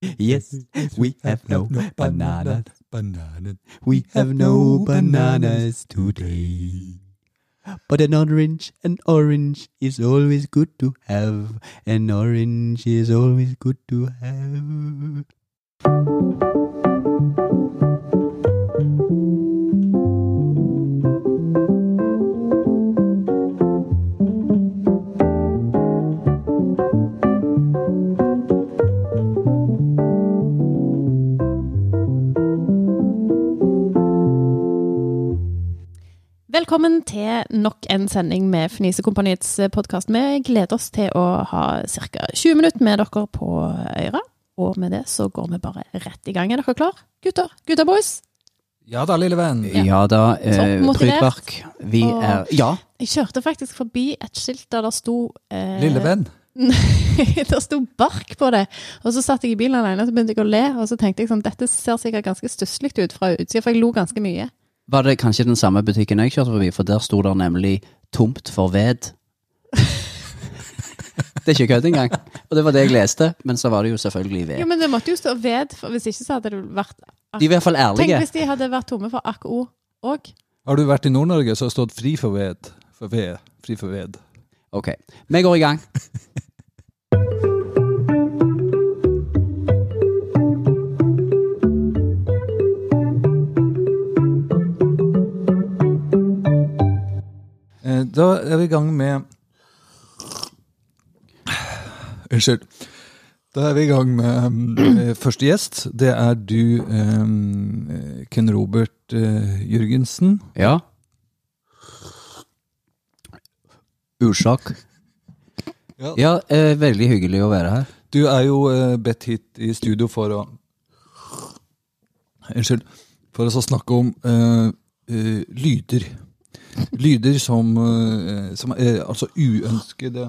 Yes, we have no bananas. Bananen. We have no bananas today. But an orange, an orange is always good to have. An orange is always good to have. Velkommen til nok en sending med Fnisekompaniets podkast. Vi gleder oss til å ha ca. 20 minutter med dere på øra. Og med det så går vi bare rett i gang. Er dere klar, gutter? Gutta boys? Ja da, lille venn. Ja, da, eh, Toppmotivert. Trygvark. Vi Og- er Ja, Jeg kjørte faktisk forbi et skilt der det sto eh, Lille venn. der sto bark på det. Og så satt jeg i bilen alene og så begynte jeg å le. Og så tenkte jeg sånn, dette ser sikkert ganske stusslig ut fra utsida, for jeg lo ganske mye. var det kanskje den samme butikken jeg kjørte forbi, for der sto det nemlig 'tomt for ved'. det er ikke kødd engang. Og det var det jeg leste, men så var det jo selvfølgelig ved. Jo, men det måtte jo stå ved, for hvis ikke så hadde det vært De er i hvert fall Tenk ærlige. hvis de hadde vært tomme for akk-o òg. Har du vært i Nord-Norge, så har det stått fri for ved. For ved. Fri for ved. Ok, vi går i gang. Eh, Da er vi i gang med Unnskyld. Da er vi i gang med mm, eh, første gjest. Det er du, eh, Ken Robert eh, Jørgensen. Ja. Ursak. Ja, eh, veldig hyggelig å være her. Du er jo eh, bedt hit i studio for å Unnskyld. For å så snakke om eh, eh, lyder. Lyder som, eh, som er Altså uønskede,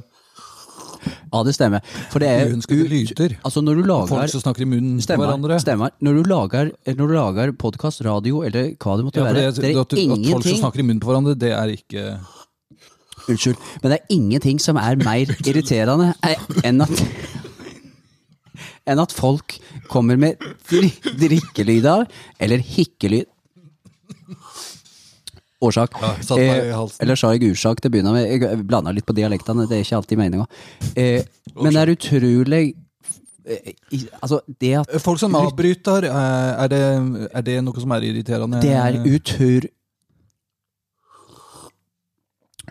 Ja, det stemmer. For det er uønskede lyder. Altså, når du lager Folk som snakker i munnen på Eh, Stemmer. hverandre. stemmer. Når du lager, når du lager podkast, radio eller hva det måtte Ja, for være, det er at, du, at folk som ingenting snakker i munnen på hverandre, det er ikke Unnskyld, men det er ingenting som er mer irriterende eh, enn at enn at folk kommer med dri- drikkelyder eller hikkelyd. Årsak. Eh, jeg satt meg i halsen. eller sa jeg ursak til å begynne med? Jeg blanda litt på dialektene, det er ikke alltid meninga. Eh, men det er utrolig eh, i, Altså, det at Eh, Folk som avbryter, eh, er det, er det noe som er irriterende? Det er utur...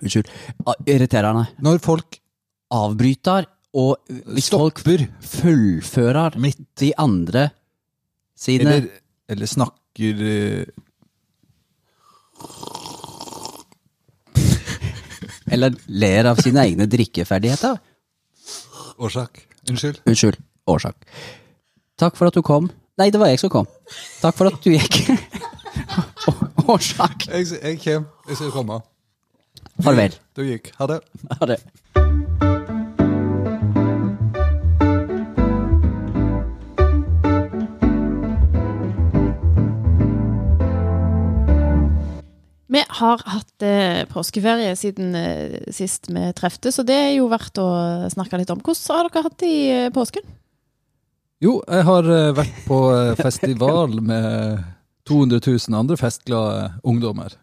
Unnskyld. Ah, Irriterende. Når folk Avbryter, og hvis folk stopper fullfører de andre sine eller, eller snakker eh, Eller ler av sine egne drikkeferdigheter. Årsak. Unnskyld. Unnskyld. Årsak. Takk for at du kom. Nei, det var jeg som kom. Takk for at du gikk. Å- Årsak. Jeg, jeg kommer. Jeg skal komme. Farvel. Du gikk. Ha det. Ha det. Vi har hatt eh, påskeferie siden eh, sist vi treftes, så det er jo verdt å snakke litt om. Hvordan har dere hatt det i eh, påsken? Jo, jeg har eh, vært på eh, festival med 200 000 andre festglade ungdommer.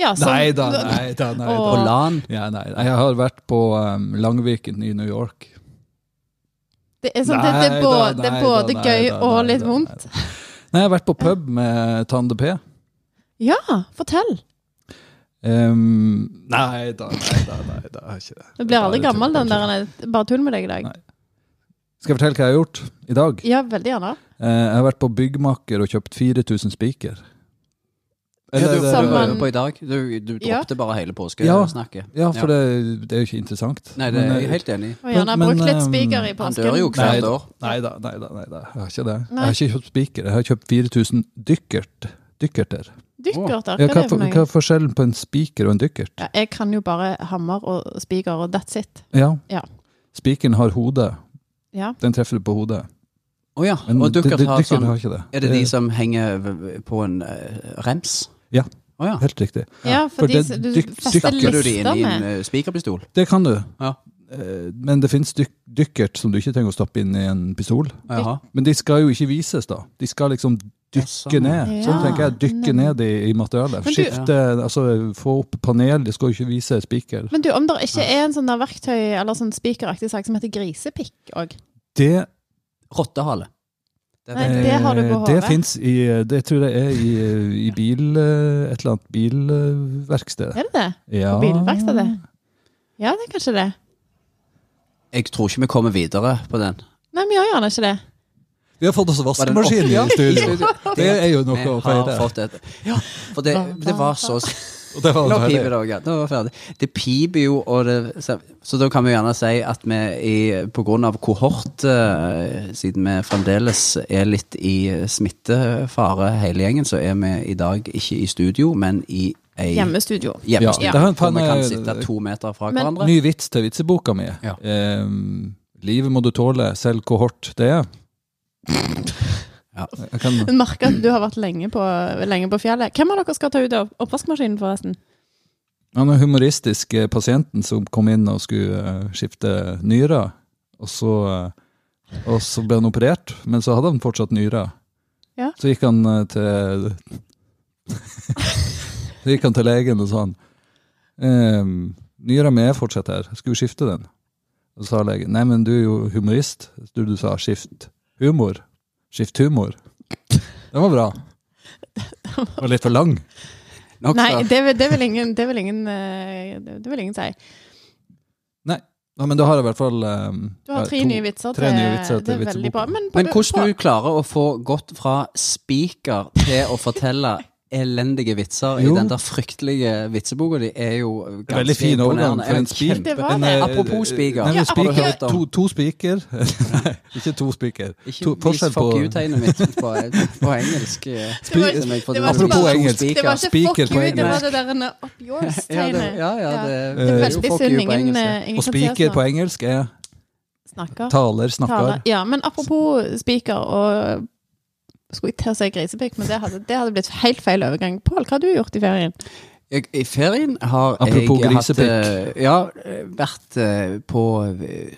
Ja, så- Nei da, nei da. Nei, da. Altså, På LAN. Ja, nei, jeg har vært på eh, Langviken i New York. Det er, sånn, det, det er Nei både, da, det er nei da, både nei gøy da, og nei litt da, vondt. Nei, jeg har vært på pub med Tande P. Ja, fortell. Ehm, nei da, nei da, nei da. jeg har ikke det. Du blir aldri Bare gammel, tull, den der. bare tull. nei, Bare tull med deg i dag. Nei. Skal jeg fortelle hva jeg har gjort i dag? Ja, veldig gjerne. Eh, jeg har vært på byggmaker og kjøpt 4000 spiker. Ja, du det- var Sammen- jo på i dag. Du, du Ja. droppet bare hele Ja. påskesnakket. Ja, for Det, det er jo ikke interessant. Nei, det er Men, jeg eh, helt enig i. Og gjerne Men- brukt men, litt spiker i ehm, Han påsken. dør jo Nei, hvert da. år. Nei da, nei da. nei da, Jeg har ikke det. Nei. Jeg har ikke kjøpt spiker, jeg har kjøpt 4000 dykkert. Dykkerter. Ja, Dykkerter, hva hva, er det for- for hva noe? er forskjellen på en spiker og en dykkert? Ja, jeg kan jo bare hammer og spiker, og that's it. Ja. Ja. Spikeren har hodet. Ja. Den treffer du på hodet. Å ja. Men Og det- dukkert det- har dykkert sånn har ikke det. Eh, Er det de som henger v- på en eh, rems? Ja. Å ja. Helt riktig. Ja, for for, de, det du dyk- fester dykker Stakker du det inn lister i en med. eh, spikerpistol? Det kan du. Ja. Eh, Men det finnes dyk dykkert som du ikke trenger å stappe inn i en pistol. Jaha. Men de skal jo ikke vises, da. De skal liksom dykke sånn, ja. ned. Sånn Ja, tenker jeg. Dykke nemlig. ned i, i materialet. Men du- Skifte, altså få opp panel. De skal jo ikke vise spiker. Men du, om det ikke er en sånn der verktøy eller sånn spikeraktig sak som heter grisepikk òg Det, Rottehale. Nei, det har du på eh, det hodet. fins i Det tror jeg er i, eh, i bil... eh, Et eller annet bilverksted. Er det det? Ja. På bilverkstedet? Ja, det er kanskje det. Jeg tror ikke vi kommer videre på den. Nei, vi gjør gjerne ikke det. Vi har fått oss vaskemaskin i Ja. studio. Det er jo noe Vi å har feire. fått et Ja, for det, det var så Og det var altså Nå ferdig. piper det òg, ja. Nå var vi ferdig. Det piper jo, og det Så, så da kan vi gjerne si at vi i, på grunn av kohort, eh, siden vi fremdeles er litt i smittefare hele gjengen, så er vi i dag ikke i studio, men i ei Hjemmestudio. hjemmestudio. Ja, det er en Hvor vi kan panne- sitte to meter fra Men- hverandre. Ny vits til vitseboka mi. Ja. Ehm, livet må du tåle, selv hvor hardt det er. Ja. Jeg kan, Men merker at du har vært lenge på, lenge på fjellet. Hvem av dere skal ta ut av oppvaskmaskinen, forresten? han er humoristisk eh, pasienten som kom inn og skulle eh, skifte nyrer, og så, eh, og så ble han operert, men så hadde han fortsatt nyrer. Ja. Så gikk han eh, til Så gikk han til legen og sa han ehm, Nyra mi er fortsatt her, skal vi skifte den? Og så sa legen nei, men du er jo humorist. Du, du sa skift humor. Skift humor. Den var bra. Den var litt for lang. Nok så. Nei, det vil, det vil ingen, det vil ingen, eh, det det vil ingen si. Ja, men da har jeg i hvert fall ehm, Du ja, har tre to- nye vitser tre til, nye vitser til Det er veldig vitseboka. bra. Men, på, Men hvordan på, du klarer å få gått fra spiker til å fortelle elendige vitser i Jo. den der fryktelige vitseboka di, er jo ganske Veldig fin overgang imponerende. for en Ja, spiker. kjempe- Det var En, det. eh, Apropos spiker. Nei, Ja, men spiker, har du hørt om? to, to spiker. Nei, ikke to spiker. To, Ikke vis forskjell på fuck you-tegnet mitt på, på engelsk. eh, Det var- som jeg får- det var- som Apropos to engelsk. spiker. det var ikke spiker fuck på you, det engelsk. var det der en up ja, det, yours-tegnet. ja, ja, Ja. det, Det er jo Veldig fuck synd you på ingen, engelsk. eh, ingen Og spiker på engelsk er snakker. taler, snakker. Tale. Ja, men apropos spiker og Skulle jeg til å si grisepikk, men det hadde, det hadde blitt helt feil overgang. Pål, hva har du gjort i ferien? Jeg, I ferien har Apropos jeg grisepikk. hatt eh, Ja, eh, vært eh, på eh,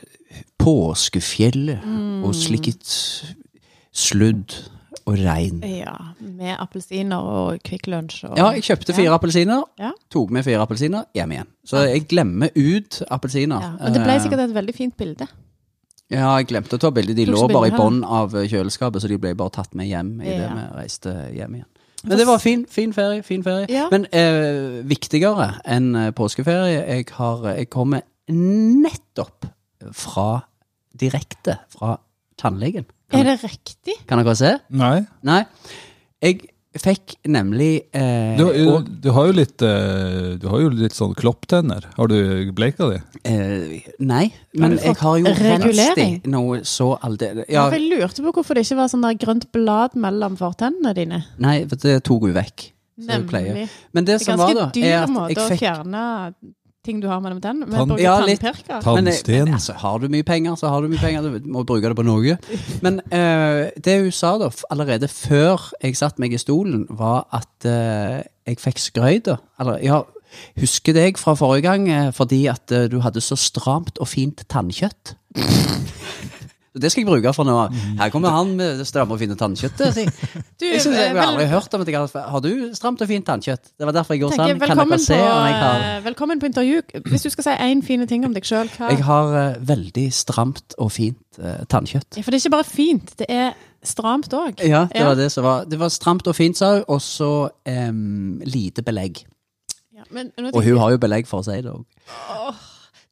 påskefjellet Mm. og slikket sludd og regn. Ja, Med appelsiner og Kvikk Lunsj og Ja, jeg kjøpte fire appelsiner, Ja. tok med fire appelsiner hjem igjen. Så jeg glemmer ut appelsiner. Ja, Men det ble sikkert et veldig fint bilde. Eh, Ja, jeg glemte å ta bilde. De Tok ikke lå bare i bilder, bånn av eh, kjøleskapet, så de ble bare tatt med hjem idet Ja. vi reiste hjem igjen. Men det var fin, fin ferie. fin ferie. Ja. Men eh, viktigere enn eh, påskeferie Jeg, har, jeg kommer nettopp fra direkte fra tannlegen. Er Kan, det riktig? kan dere se? Nei. Nei. Jeg fikk nemlig eh, Du, og- du har jo litt eh, Du har jo litt sånn klopptenner. Har du bleika de? Eh, nei, men jeg har jo renst i regulering? noe så aldeles Ja. ja, for Jeg lurte på hvorfor det ikke var sånn der grønt blad mellom fortennene dine. Nei, for det tok hun vekk. Så jeg pleier. Nemlig. Men det, Det er som var, da, ganske er dyr at måte å jeg fikk fjerne ting du har mellom tennene. Tann- Med å bruke Ja, litt. tannpirker. men, jeg- Tannsten. men, altså, har du mye penger, så har du mye penger. Du må bruke det på noe. Men eh, det hun sa da, f- allerede før jeg satte meg i stolen, var at eh, jeg fikk skrøyt. da. Eller, ja, husker deg fra forrige gang eh, fordi at eh, du hadde så stramt og fint tannkjøtt. Det skal jeg bruke fra nå av. Her kommer han med det stramme og fine tannkjøttet. sier jeg. Du, Jeg synes jeg eh, har vel- aldri hørt om at jeg har, har du stramt og fint tannkjøtt. Det var derfor jeg går tenker jeg, sånn. Kan dere velkommen, se på, om jeg har eh, velkommen på intervju. Hvis du skal si én fin ting om deg sjøl, hva Jeg har eh, veldig stramt og fint eh, tannkjøtt. ja, For det er ikke bare fint, det er stramt òg. Ja, det Ja. var det som var Det var stramt og fint, sa hun, og så em, lite belegg. Og hun har jo belegg for å si det òg.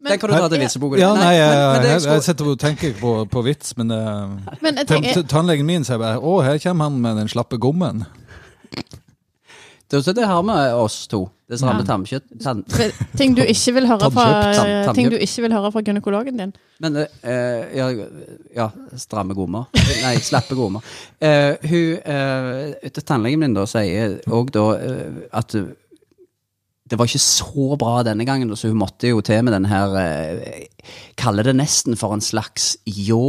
Den kan du ta til vitseboka. Ja, nei, jeg, men- men jeg, det jeg jeg skulle- sitter og tenker på, på vits, men eh, Men jeg tann- tenker, tannlegen min sier bare 'Å, her kommer han med den slappe gommen'. det, så det har vi eh, oss to. Det stramme tannkjøtt. Tann. ting, du ikke vil høre Tannkjøp, tann- fra, tannkjøp. ting du ikke vil høre fra gynekologen din. Men eh, eh, ja, ja, stramme gommer. Nei, slappe gommer. Eh, hun eh, til Tannlegen min da sier òg da eh, at eh, det var ikke så bra denne gangen, så hun måtte jo til med den her eh, Kaller det nesten for en slags ljå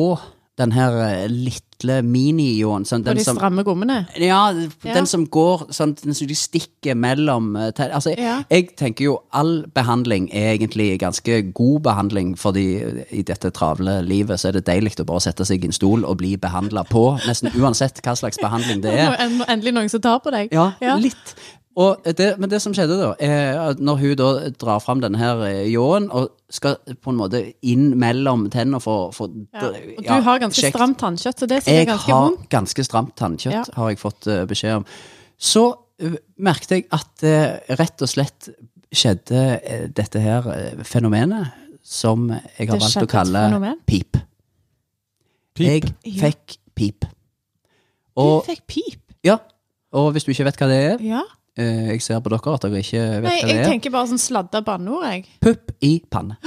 Den her eh, lille mini-ljåen. Sånn, På den de som stramme gommene. ja, den Ja. som går sånn, den som de stikker mellom eh, te- Altså, Ja. jeg tenker jo all behandling er egentlig ganske god behandling, fordi eh, i dette travle livet så er det deilig å bare sette seg i en stol og bli behandla på, nesten uansett hva slags behandling det Nå er. er det endelig noen som tar på deg. Ja, Ja. litt. Og det, men det som skjedde, da, er at når hun da drar fram denne her eh, ljåen og skal på en måte inn mellom tennene for, for Ja. Og du eh, ja, har ganske kjekt. stramt tannkjøtt, så det er Jeg sikkert ganske har vondt. ganske stramt tannkjøtt, Ja. har jeg fått eh, beskjed om. Så uh, merket jeg at det rett og slett skjedde eh, dette her eh, fenomenet som jeg har Det valgt skjedde å kalle et fenomen? pip. Pip. Jeg Ja. fikk pip. Du Og, fikk pip. ja, og hvis du ikke vet hva det er Ja. eh, Jeg ser på dere at dere ikke vet Nei, hva det jeg er. tenker bare sånn sladda banneord, jeg. Pupp i panne.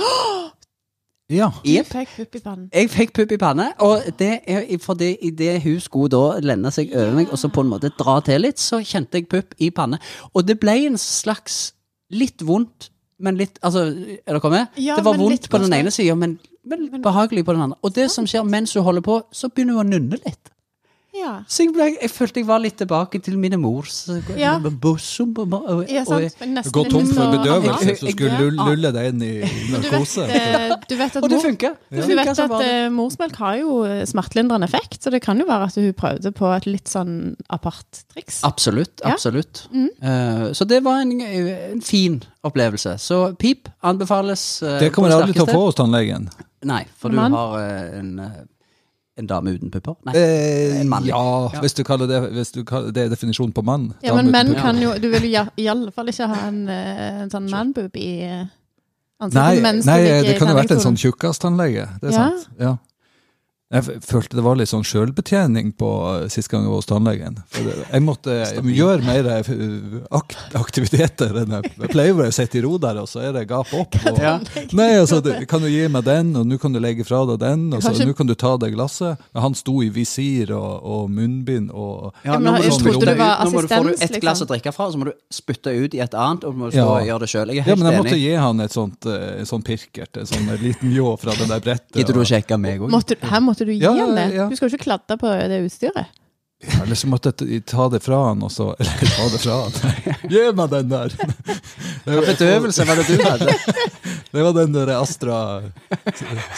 Ja. Du Jep. fikk pupp i pannen. Jeg fikk pupp i panne, og det er fordi idet hun skulle da lende seg over meg og så på en måte dra til litt, så kjente jeg pupp i panne. Og det ble en slags litt vondt, men litt Altså, er dere med? Ja, det var men vondt litt på den koselig. ene sida, men, men behagelig på den andre. Og det som skjer mens hun holder på, så begynner hun å nynne litt. Ja. Så jeg, ble, jeg følte jeg var litt tilbake til mine mors Ja. bosom. og- Ja, og- sant. Men nesten Gå litt tom så- for bedøvelse, Jeg- så jeg- skulle lull- lulle deg inn i Du vet, narkose. eh, du vet at, Og det mor, funker. Det du funker vet som at bare eh, morsmelk har jo eh, smertelindrende effekt, så det kan jo være at hun prøvde på et litt sånn apart triks. Ah, Absolutt. Ja. Mm. absolutt. Eh, så det var en, en fin opplevelse. Så pip anbefales. eh, Det kommer på jeg aldri til å sterkeste. få hos tannlegen. Nei, for Mann. du har eh, en, eh, en dame uten pupper. Nei. Eh, En mannlig. ja, Ja. hvis du kaller det, hvis du kaller det er definisjonen på mann. Ja, men menn Damer- kan jo Du vil jo i- i alle fall ikke ha en, eh, en sånn manboob i eh, Nei, ansiktet mens du nei ligger det i kunne vært en sånn tannleggestolen. tjukkas-tannlege. Det er Ja. sant. Ja. Jeg f- følte det var litt sånn sjølbetjening på eh, sist gang jeg var hos tannlegen. For det- Jeg måtte gjøre mer eh, ak aktiviteter enn jeg jeg pleier. hvor Jeg sitter i ro der, og så er det gap opp. Og, Ja. Nei, altså, du, kan du gi meg den, og nå kan du legge fra deg den, og så Kanskje- nå kan du ta det glasset. Men han sto i visir og, og munnbind og Ja, men jeg nå må du trodde spytte det ut- var Nå må du få assistens, et glass liksom. å drikke fra, og så må du spytte ut i et annet, og du må stå Ja. og gjøre det sjøl. Jeg er Ja, helt men jeg måtte enig. gi han et sånt, eh, sånn pirkert, en sånn liten ljå fra det der brettet. Gidder du å og- sjekke meg òg? Måtte, her måtte du gi Ja, han det? ja. Du skal jo ikke kladde på det utstyret. Ja, Eller så måtte jeg t- ta det fra han, og så Eller ta det fra han. Gi meg den der! Hva bedøvelse var det du hadde? Det var den der Astra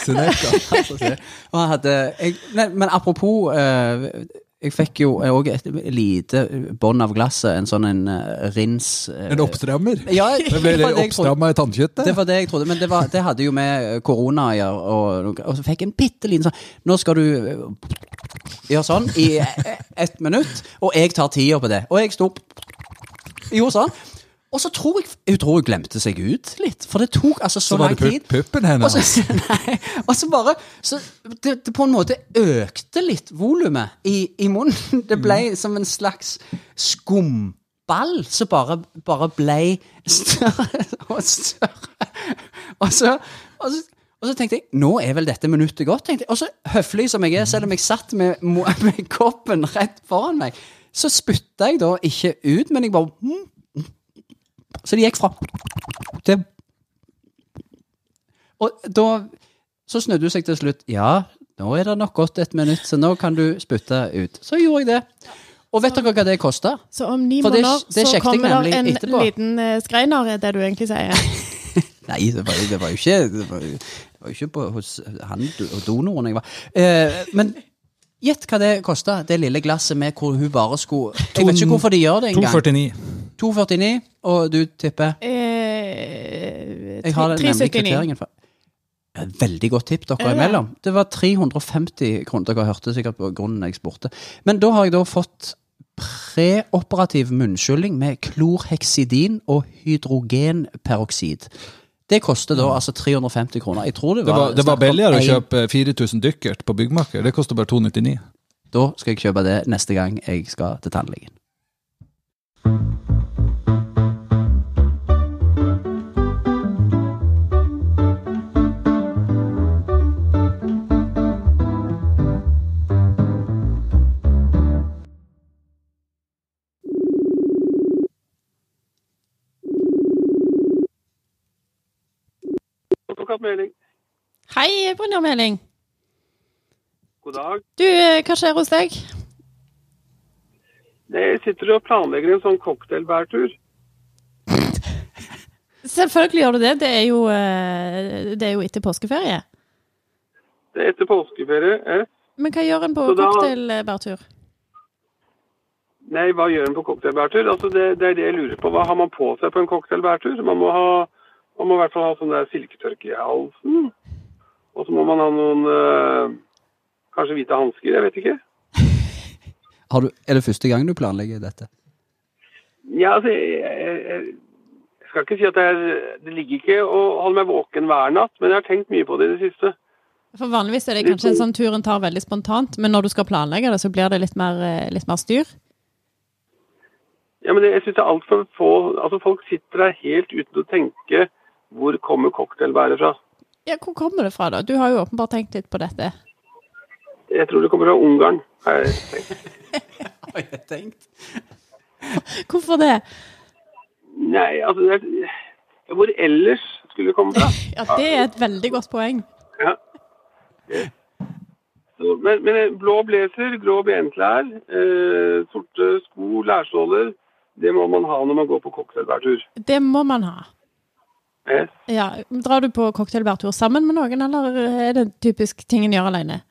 Seneca. Og han hadde jeg, nei, Men apropos eh, Jeg fikk jo òg et lite bånd av glasset, en sånn en eh, rins eh, En oppstrammer. Ja, Det ble var det jeg trodde. oppstramma i tannkjøttet. Det var det jeg trodde, men det, var, det hadde jo med korona å gjøre. Og, og så fikk jeg en bitte liten sånn Nå skal du eh, gjøre sånn i eh, ett minutt, og jeg tar tida på det. Og jeg sto Gjorde sånn. Og så tror jeg Jeg tror hun glemte seg ut litt, for det tok altså så, Så var lang det tid. pu- puppen Og hennes. så, nei, og så bare så det, det på en måte økte litt volumet i, i munnen. Det ble som en slags skumball som bare, bare ble større og større. Og så, og så og så tenkte jeg nå er vel dette minuttet gått. tenkte jeg. Og så høflig som jeg er, selv om jeg satt med, mo- med koppen rett foran meg, så spytta jeg da ikke ut, men jeg bare mm, Så det gikk fra til og da så snudde hun seg til slutt. Ja, nå er det nok gått et minutt, så nå kan du spytte ut. Så gjorde jeg det. Og vet dere hva det kosta? Så om ni For det- måneder det så sjekket jeg kommer nemlig det en etterpå. liten eh, skreiner, er det du egentlig sier. Nei, det var, det var jo ikke Det var, jo- det var jo ikke på, hos han do- og donoren jeg var. Eh, men gjett hva det kosta, det lille glasset med hvor hun bare skulle Jeg vet ikke hvorfor de gjør det engang. 249. 2,49, og du tipper? Eh, Jeg har tre- nemlig 379. kvitteringen for Ja, Veldig godt tipp dere Ja. imellom. Det var 350 kroner. Dere hørte sikkert på grunnen jeg spurte. Men da har jeg da fått preoperativ munnskylling med klorheksidin og hydrogenperoksid. Det koster da altså 350 kroner. Jeg tror det Det var, var, det var snakk om billigere å en- kjøpe 4000 dykkert på Byggmaker. Det koster bare 299. Da skal jeg kjøpe det neste gang jeg skal til tannlegen. Advokatmelding. Hei, Brynjar Meling. God God dag. Du, eh, hva skjer hos deg? Nei, Jeg sitter og planlegger en sånn cocktailbærtur. Selvfølgelig gjør du det. Det er jo, eh, det er jo etter påskeferie. Det er etter påskeferie. Eh? Men hva gjør en på eh, Så da- cocktailbærtur? Nei, hva gjør en på cocktailbærtur? Altså, det, det er det jeg lurer på. Hva har man på seg på en cocktailbærtur? Man må ha man må i hvert fall ha sånn der silketørke i halsen. Og så må man ha noen eh, Kanskje hvite hansker? Jeg vet ikke. Har du, er det første gang du planlegger dette? Ja, altså, jeg, jeg, jeg jeg skal ikke si at jeg, det ligger ikke å holde meg våken hver natt, men jeg har tenkt mye på det i det siste. For Vanligvis er det kanskje en sånn tur en tar veldig spontant, men når du skal planlegge det, så blir det litt mer, eh, litt mer styr. Ja, men jeg synes det er alt for få Altså, folk sitter der helt uten å tenke hvor kommer cocktailbæret fra? Ja, Hvor kommer det fra, da? Du har jo åpenbart tenkt litt på dette. Jeg tror det kommer fra Ungarn. har jeg tenkt. Har jeg tenkt. Hvorfor det? Nei, altså det er, Hvor ellers skulle det komme fra? Ja, Det er et veldig godt poeng. Ja. Så, men, men blå blazer, grå benklær, eh, sorte sko, lærståler Det må man ha når man går på cocktailbærtur. Det må man ha. Eh, Ja, Drar du på cocktailbærtur sammen med noen, eller er det typisk ting en gjør alene?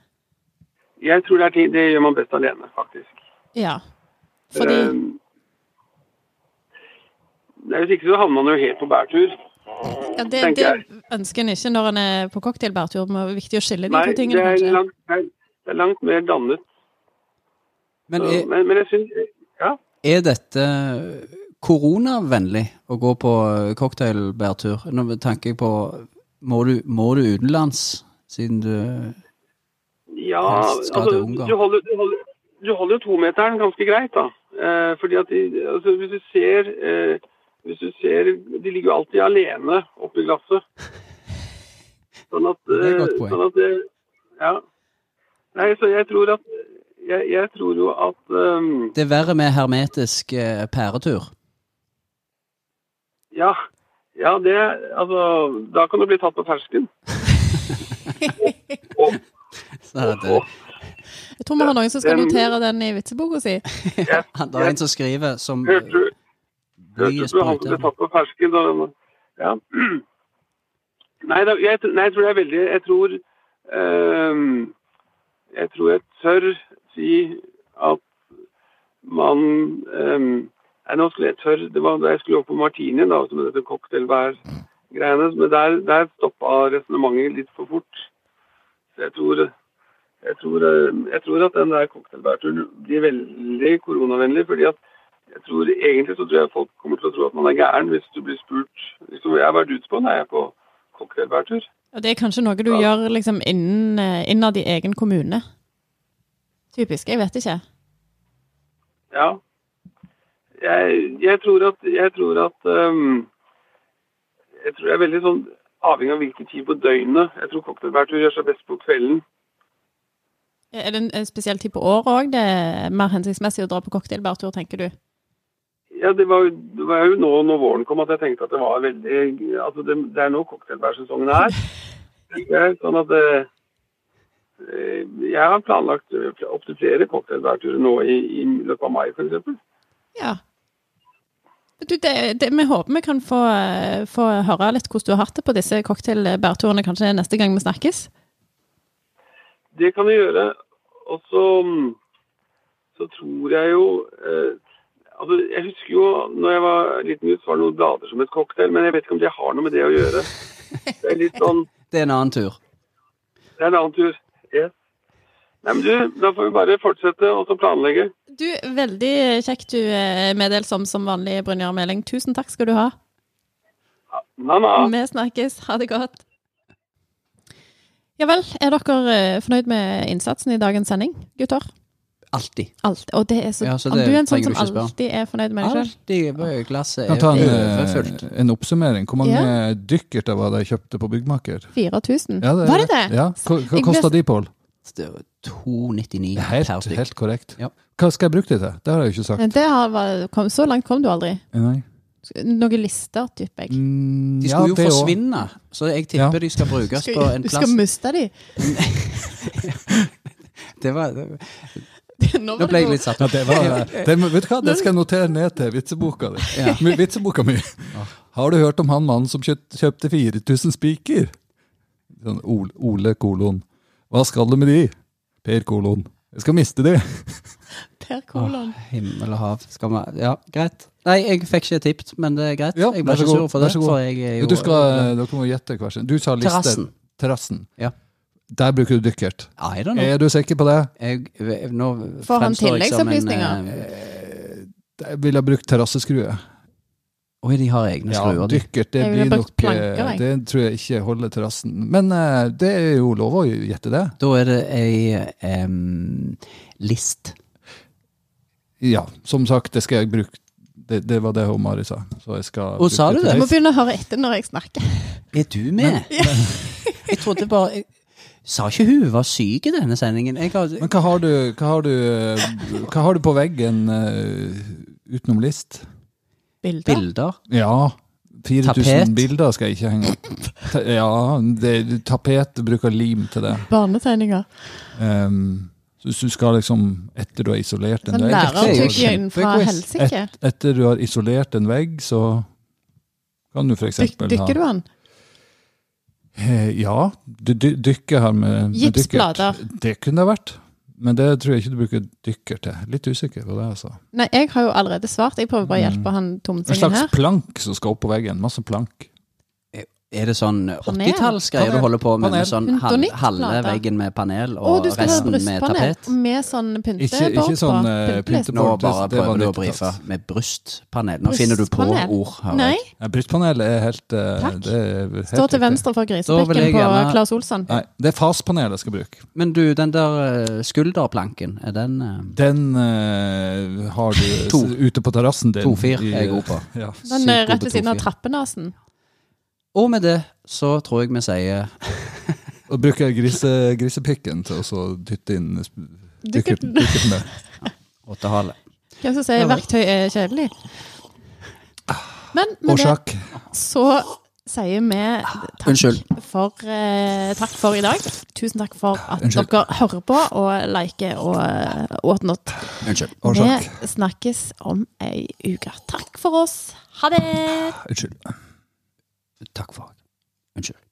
Jeg tror det, er ting, det gjør man best alene, faktisk. Ja. Fordi Eh, nei, Hvis ikke så havner man jo helt på bærtur. ja, det, tenker det jeg. ønsker en ikke når en er på cocktailbærtur. Det er viktig å skille de Nei, to det tingene, er, kanskje. langt, det er- det er langt mer dannet. Men Så, er, men, men jeg syns Ja. er dette koronavennlig å gå på cocktailbærtur? Nå tenker jeg på Må du, må du utenlands siden du ja Helst skal altså, til Ungarn. du, holder, du, holder, du holder jo tometeren ganske greit, da. Eh, fordi at de, altså, hvis du ser eh, hvis du ser, De ligger jo alltid alene oppi glasset. Sånn at, Det er et eh, godt poeng. sånn at det, Ja. Nei, så jeg tror at Jeg, jeg tror jo at ehm, Det er verre med hermetisk eh, pæretur. Ja. Ja, det Altså, da kan du bli tatt på fersken. og, Så eh, er det, Jeg tror vi har noen som skal Den- notere den i vitseboka si. det er en som skriver som hørte du blyet Hørte du han som ble sprøyter. tatt på fersken? da- Ja. Nei, da, jeg, tr- nei, jeg tror det er veldig Jeg tror ehm, Jeg tror jeg tør si at man ehm, Nei, nå skulle jeg tørre Det var da jeg skulle opp på Martini, da, som dette cocktailbær-greiene. Men der, der stoppa resonnementet litt for fort. Så jeg tror jeg tror, eh, jeg tror at den der cocktailbærturen blir veldig koronavennlig. fordi at jeg tror egentlig så tror jeg folk kommer til å tro at man er gæren hvis du blir spurt liksom, jeg har vært ute på, nei, jeg er på cocktailbærtur. Og det er kanskje noe du gjør liksom innen, eh, innad i egen kommune. Typisk. Jeg vet ikke. Ja. Jeg, jeg tror at jeg tror at ehm, jeg tror jeg er veldig sånn avhengig av hvilken tid på døgnet. Jeg tror cocktailbærtur gjør seg best på kvelden. Er det en- en spesiell tid på året òg det er mer hensiktsmessig å dra på cocktailbærtur, tenker du? Ja, det var, jo- det var jo nå når våren kom at jeg tenkte at det var veldig Altså, det, det er nå cocktailbærsesongen er. Det er Sånn at eh, eh, Jeg har planlagt opptil flere cocktailbærturer nå i, i løpet av mai, f.eks. Ja. Du, det, det, vi håper vi kan få, eh, få høre litt hvordan du har hatt det på disse cocktailbærturene kanskje neste gang vi snakkes. Det kan jeg gjøre. Og så så tror jeg jo eh, Altså, jeg husker jo når jeg var liten gutt, så var det noen blader som het cocktail, men jeg vet ikke om det har noe med det å gjøre. Det er litt sånn Det er en annen tur. Det er en annen tur. Yes. Nei, men du, da får vi bare fortsette og så planlegge. Du, veldig kjekt du er meddelsom som vanlig, Brynjar Meling. Tusen takk skal du ha. Na, na. Vi snakkes. Ha det godt. Ja vel, er dere eh, fornøyd med innsatsen i dagens sending, gutter? Alltid. Alt. Og det er så, Ja, så Om det du er en sånn trenger som du ikke spørre. alltid er fornøyd med deg sjøl. Alltid. bare Glasset Kan er ta en, overfullt. eh, en oppsummering. Hvor mange dykkerter var det jeg kjøpte på Byggmaker? 4000. Ja, Var det det? Ja. Hva, hva Jeg kosta vet- de, Pål? Det er 2,99 Helt, per stykk. helt korrekt. Ja. Hva skal jeg bruke det til? Det har jeg jo ikke sagt. Det har, var, kom, så langt kom du aldri. Nei. Noen lister, tipper jeg. Mm, De ja, skulle jo det også. forsvinne, så jeg tipper Ja. de skal brukes på Skal, en du skal plass. miste de. Det var, det var. Nå, var Nå det ble jeg god. litt satt Ja, det var, det, må- vet du hva? det skal jeg notere ned til vitseboka di. Mi- Vitseboka mi. Har du hørt om han mannen som kjøpt, kjøpte 4000 spiker? Sånn, Ole, Ole kolon. Hva skal du med de? Per kolon. Jeg skal miste de. Per Kolon. Himmel og hav. Skal vi Ja, greit. Nei, jeg fikk ikke tippet, men det er greit. Ja, jeg vær ble så ikke god, sur for vær det. så god. For jeg er jo Du skal, eh, dere må gjette hver sin. Du sa liste. Terrassen. Terrassen. Ja. Der bruker du dykkert. I don't know. Er du sikker på det? Jeg, jeg, eh, nå Får han fremstår jeg som en, tilleggsopplysninger? eh, Jeg ville ha brukt terrasseskrue. Oi, de har egne skruer. de. dykkert, det Jeg ville blir brukt nok eh, planker, jeg. Det tror jeg ikke holder terrassen. Men eh, det er jo lov å gjette det. Da er det ei em, list. Ja, som sagt, det skal jeg bruke. Det, det var det hun Mari sa. Så jeg skal Å, sa bruke du Du til må list. begynne å høre etter når jeg snakker. Er du med? jeg trodde bare jeg, Sa ikke hun var syk i denne sendingen? Jeg har, Men hva har, du, hva, har du, eh, hva har du på veggen eh, utenom list? Bilder. bilder. Ja, 4000 Tapet? bilder skal jeg ikke henge opp. Ta- Ja, det, tapet bruker lim til det. Barnetegninger. Ehm, så hvis du skal liksom, etter du har isolert en Sånn vegg lærertyggen fra kjempequiz. helsike. Et, etter du har isolert en vegg, så kan du for Dyk, eksempel ha- dykker du han? Eh, Ja, du dy dykker her med, med Gipsblader. dykkert. Det kunne det vært. Men det tror jeg ikke du bruker dykker til. Litt usikker på det, altså. Nei, jeg har jo allerede svart. Jeg prøver bare å Mm. hjelpe han En tomtingen slags her. plank som skal opp på veggen. Masse plank. Er det sånn Panel. 80-tallsgreier du Panel. holder på med? Panel. med sånn hal Hundonittplater. halve veggen med panel Å, og du skal ha resten med brystpanel tapet? med sånn pyntebord Ikke- ikke sånn, på. eh, Pyntelist. pyntebord. Bortes, Nå bare det var altså. prøver du å nytt, brife ass. med brystpanel. Nå finner du på Brystpanel. ord. hører Nei, jeg. Ja, brystpanel er helt eh, Takk. Det er helt står til riktig. venstre for Da vil grisepikken jeg på gjerne- Claes Olsson. Nei, det er faspanelet jeg skal bruke. Men du, den der eh, skulderplanken, er den eh, Den eh, har du s- To. ute på terrassen din. 2-4 i- er jeg god på. Ja. Den er sykt rett ved siden av obetofil. trappenasen. Og med det så tror jeg vi sier Og bruker grise, grisepikken til å så dytte inn sp- dykkerten. dykkerten med. åttehale. Hvem som sier Ja vel. Ah. verktøy er kjedelig? Men med det Årsak. så sier vi takk Unnskyld. for, eh, takk for i dag. Tusen takk for at Unnskyld. dere hører på og liker og eh, whatnot. Unnskyld. Årsak. Vi snakkes om ei uke. Takk for oss. Ha det! Unnskyld. Takk for Unnskyld.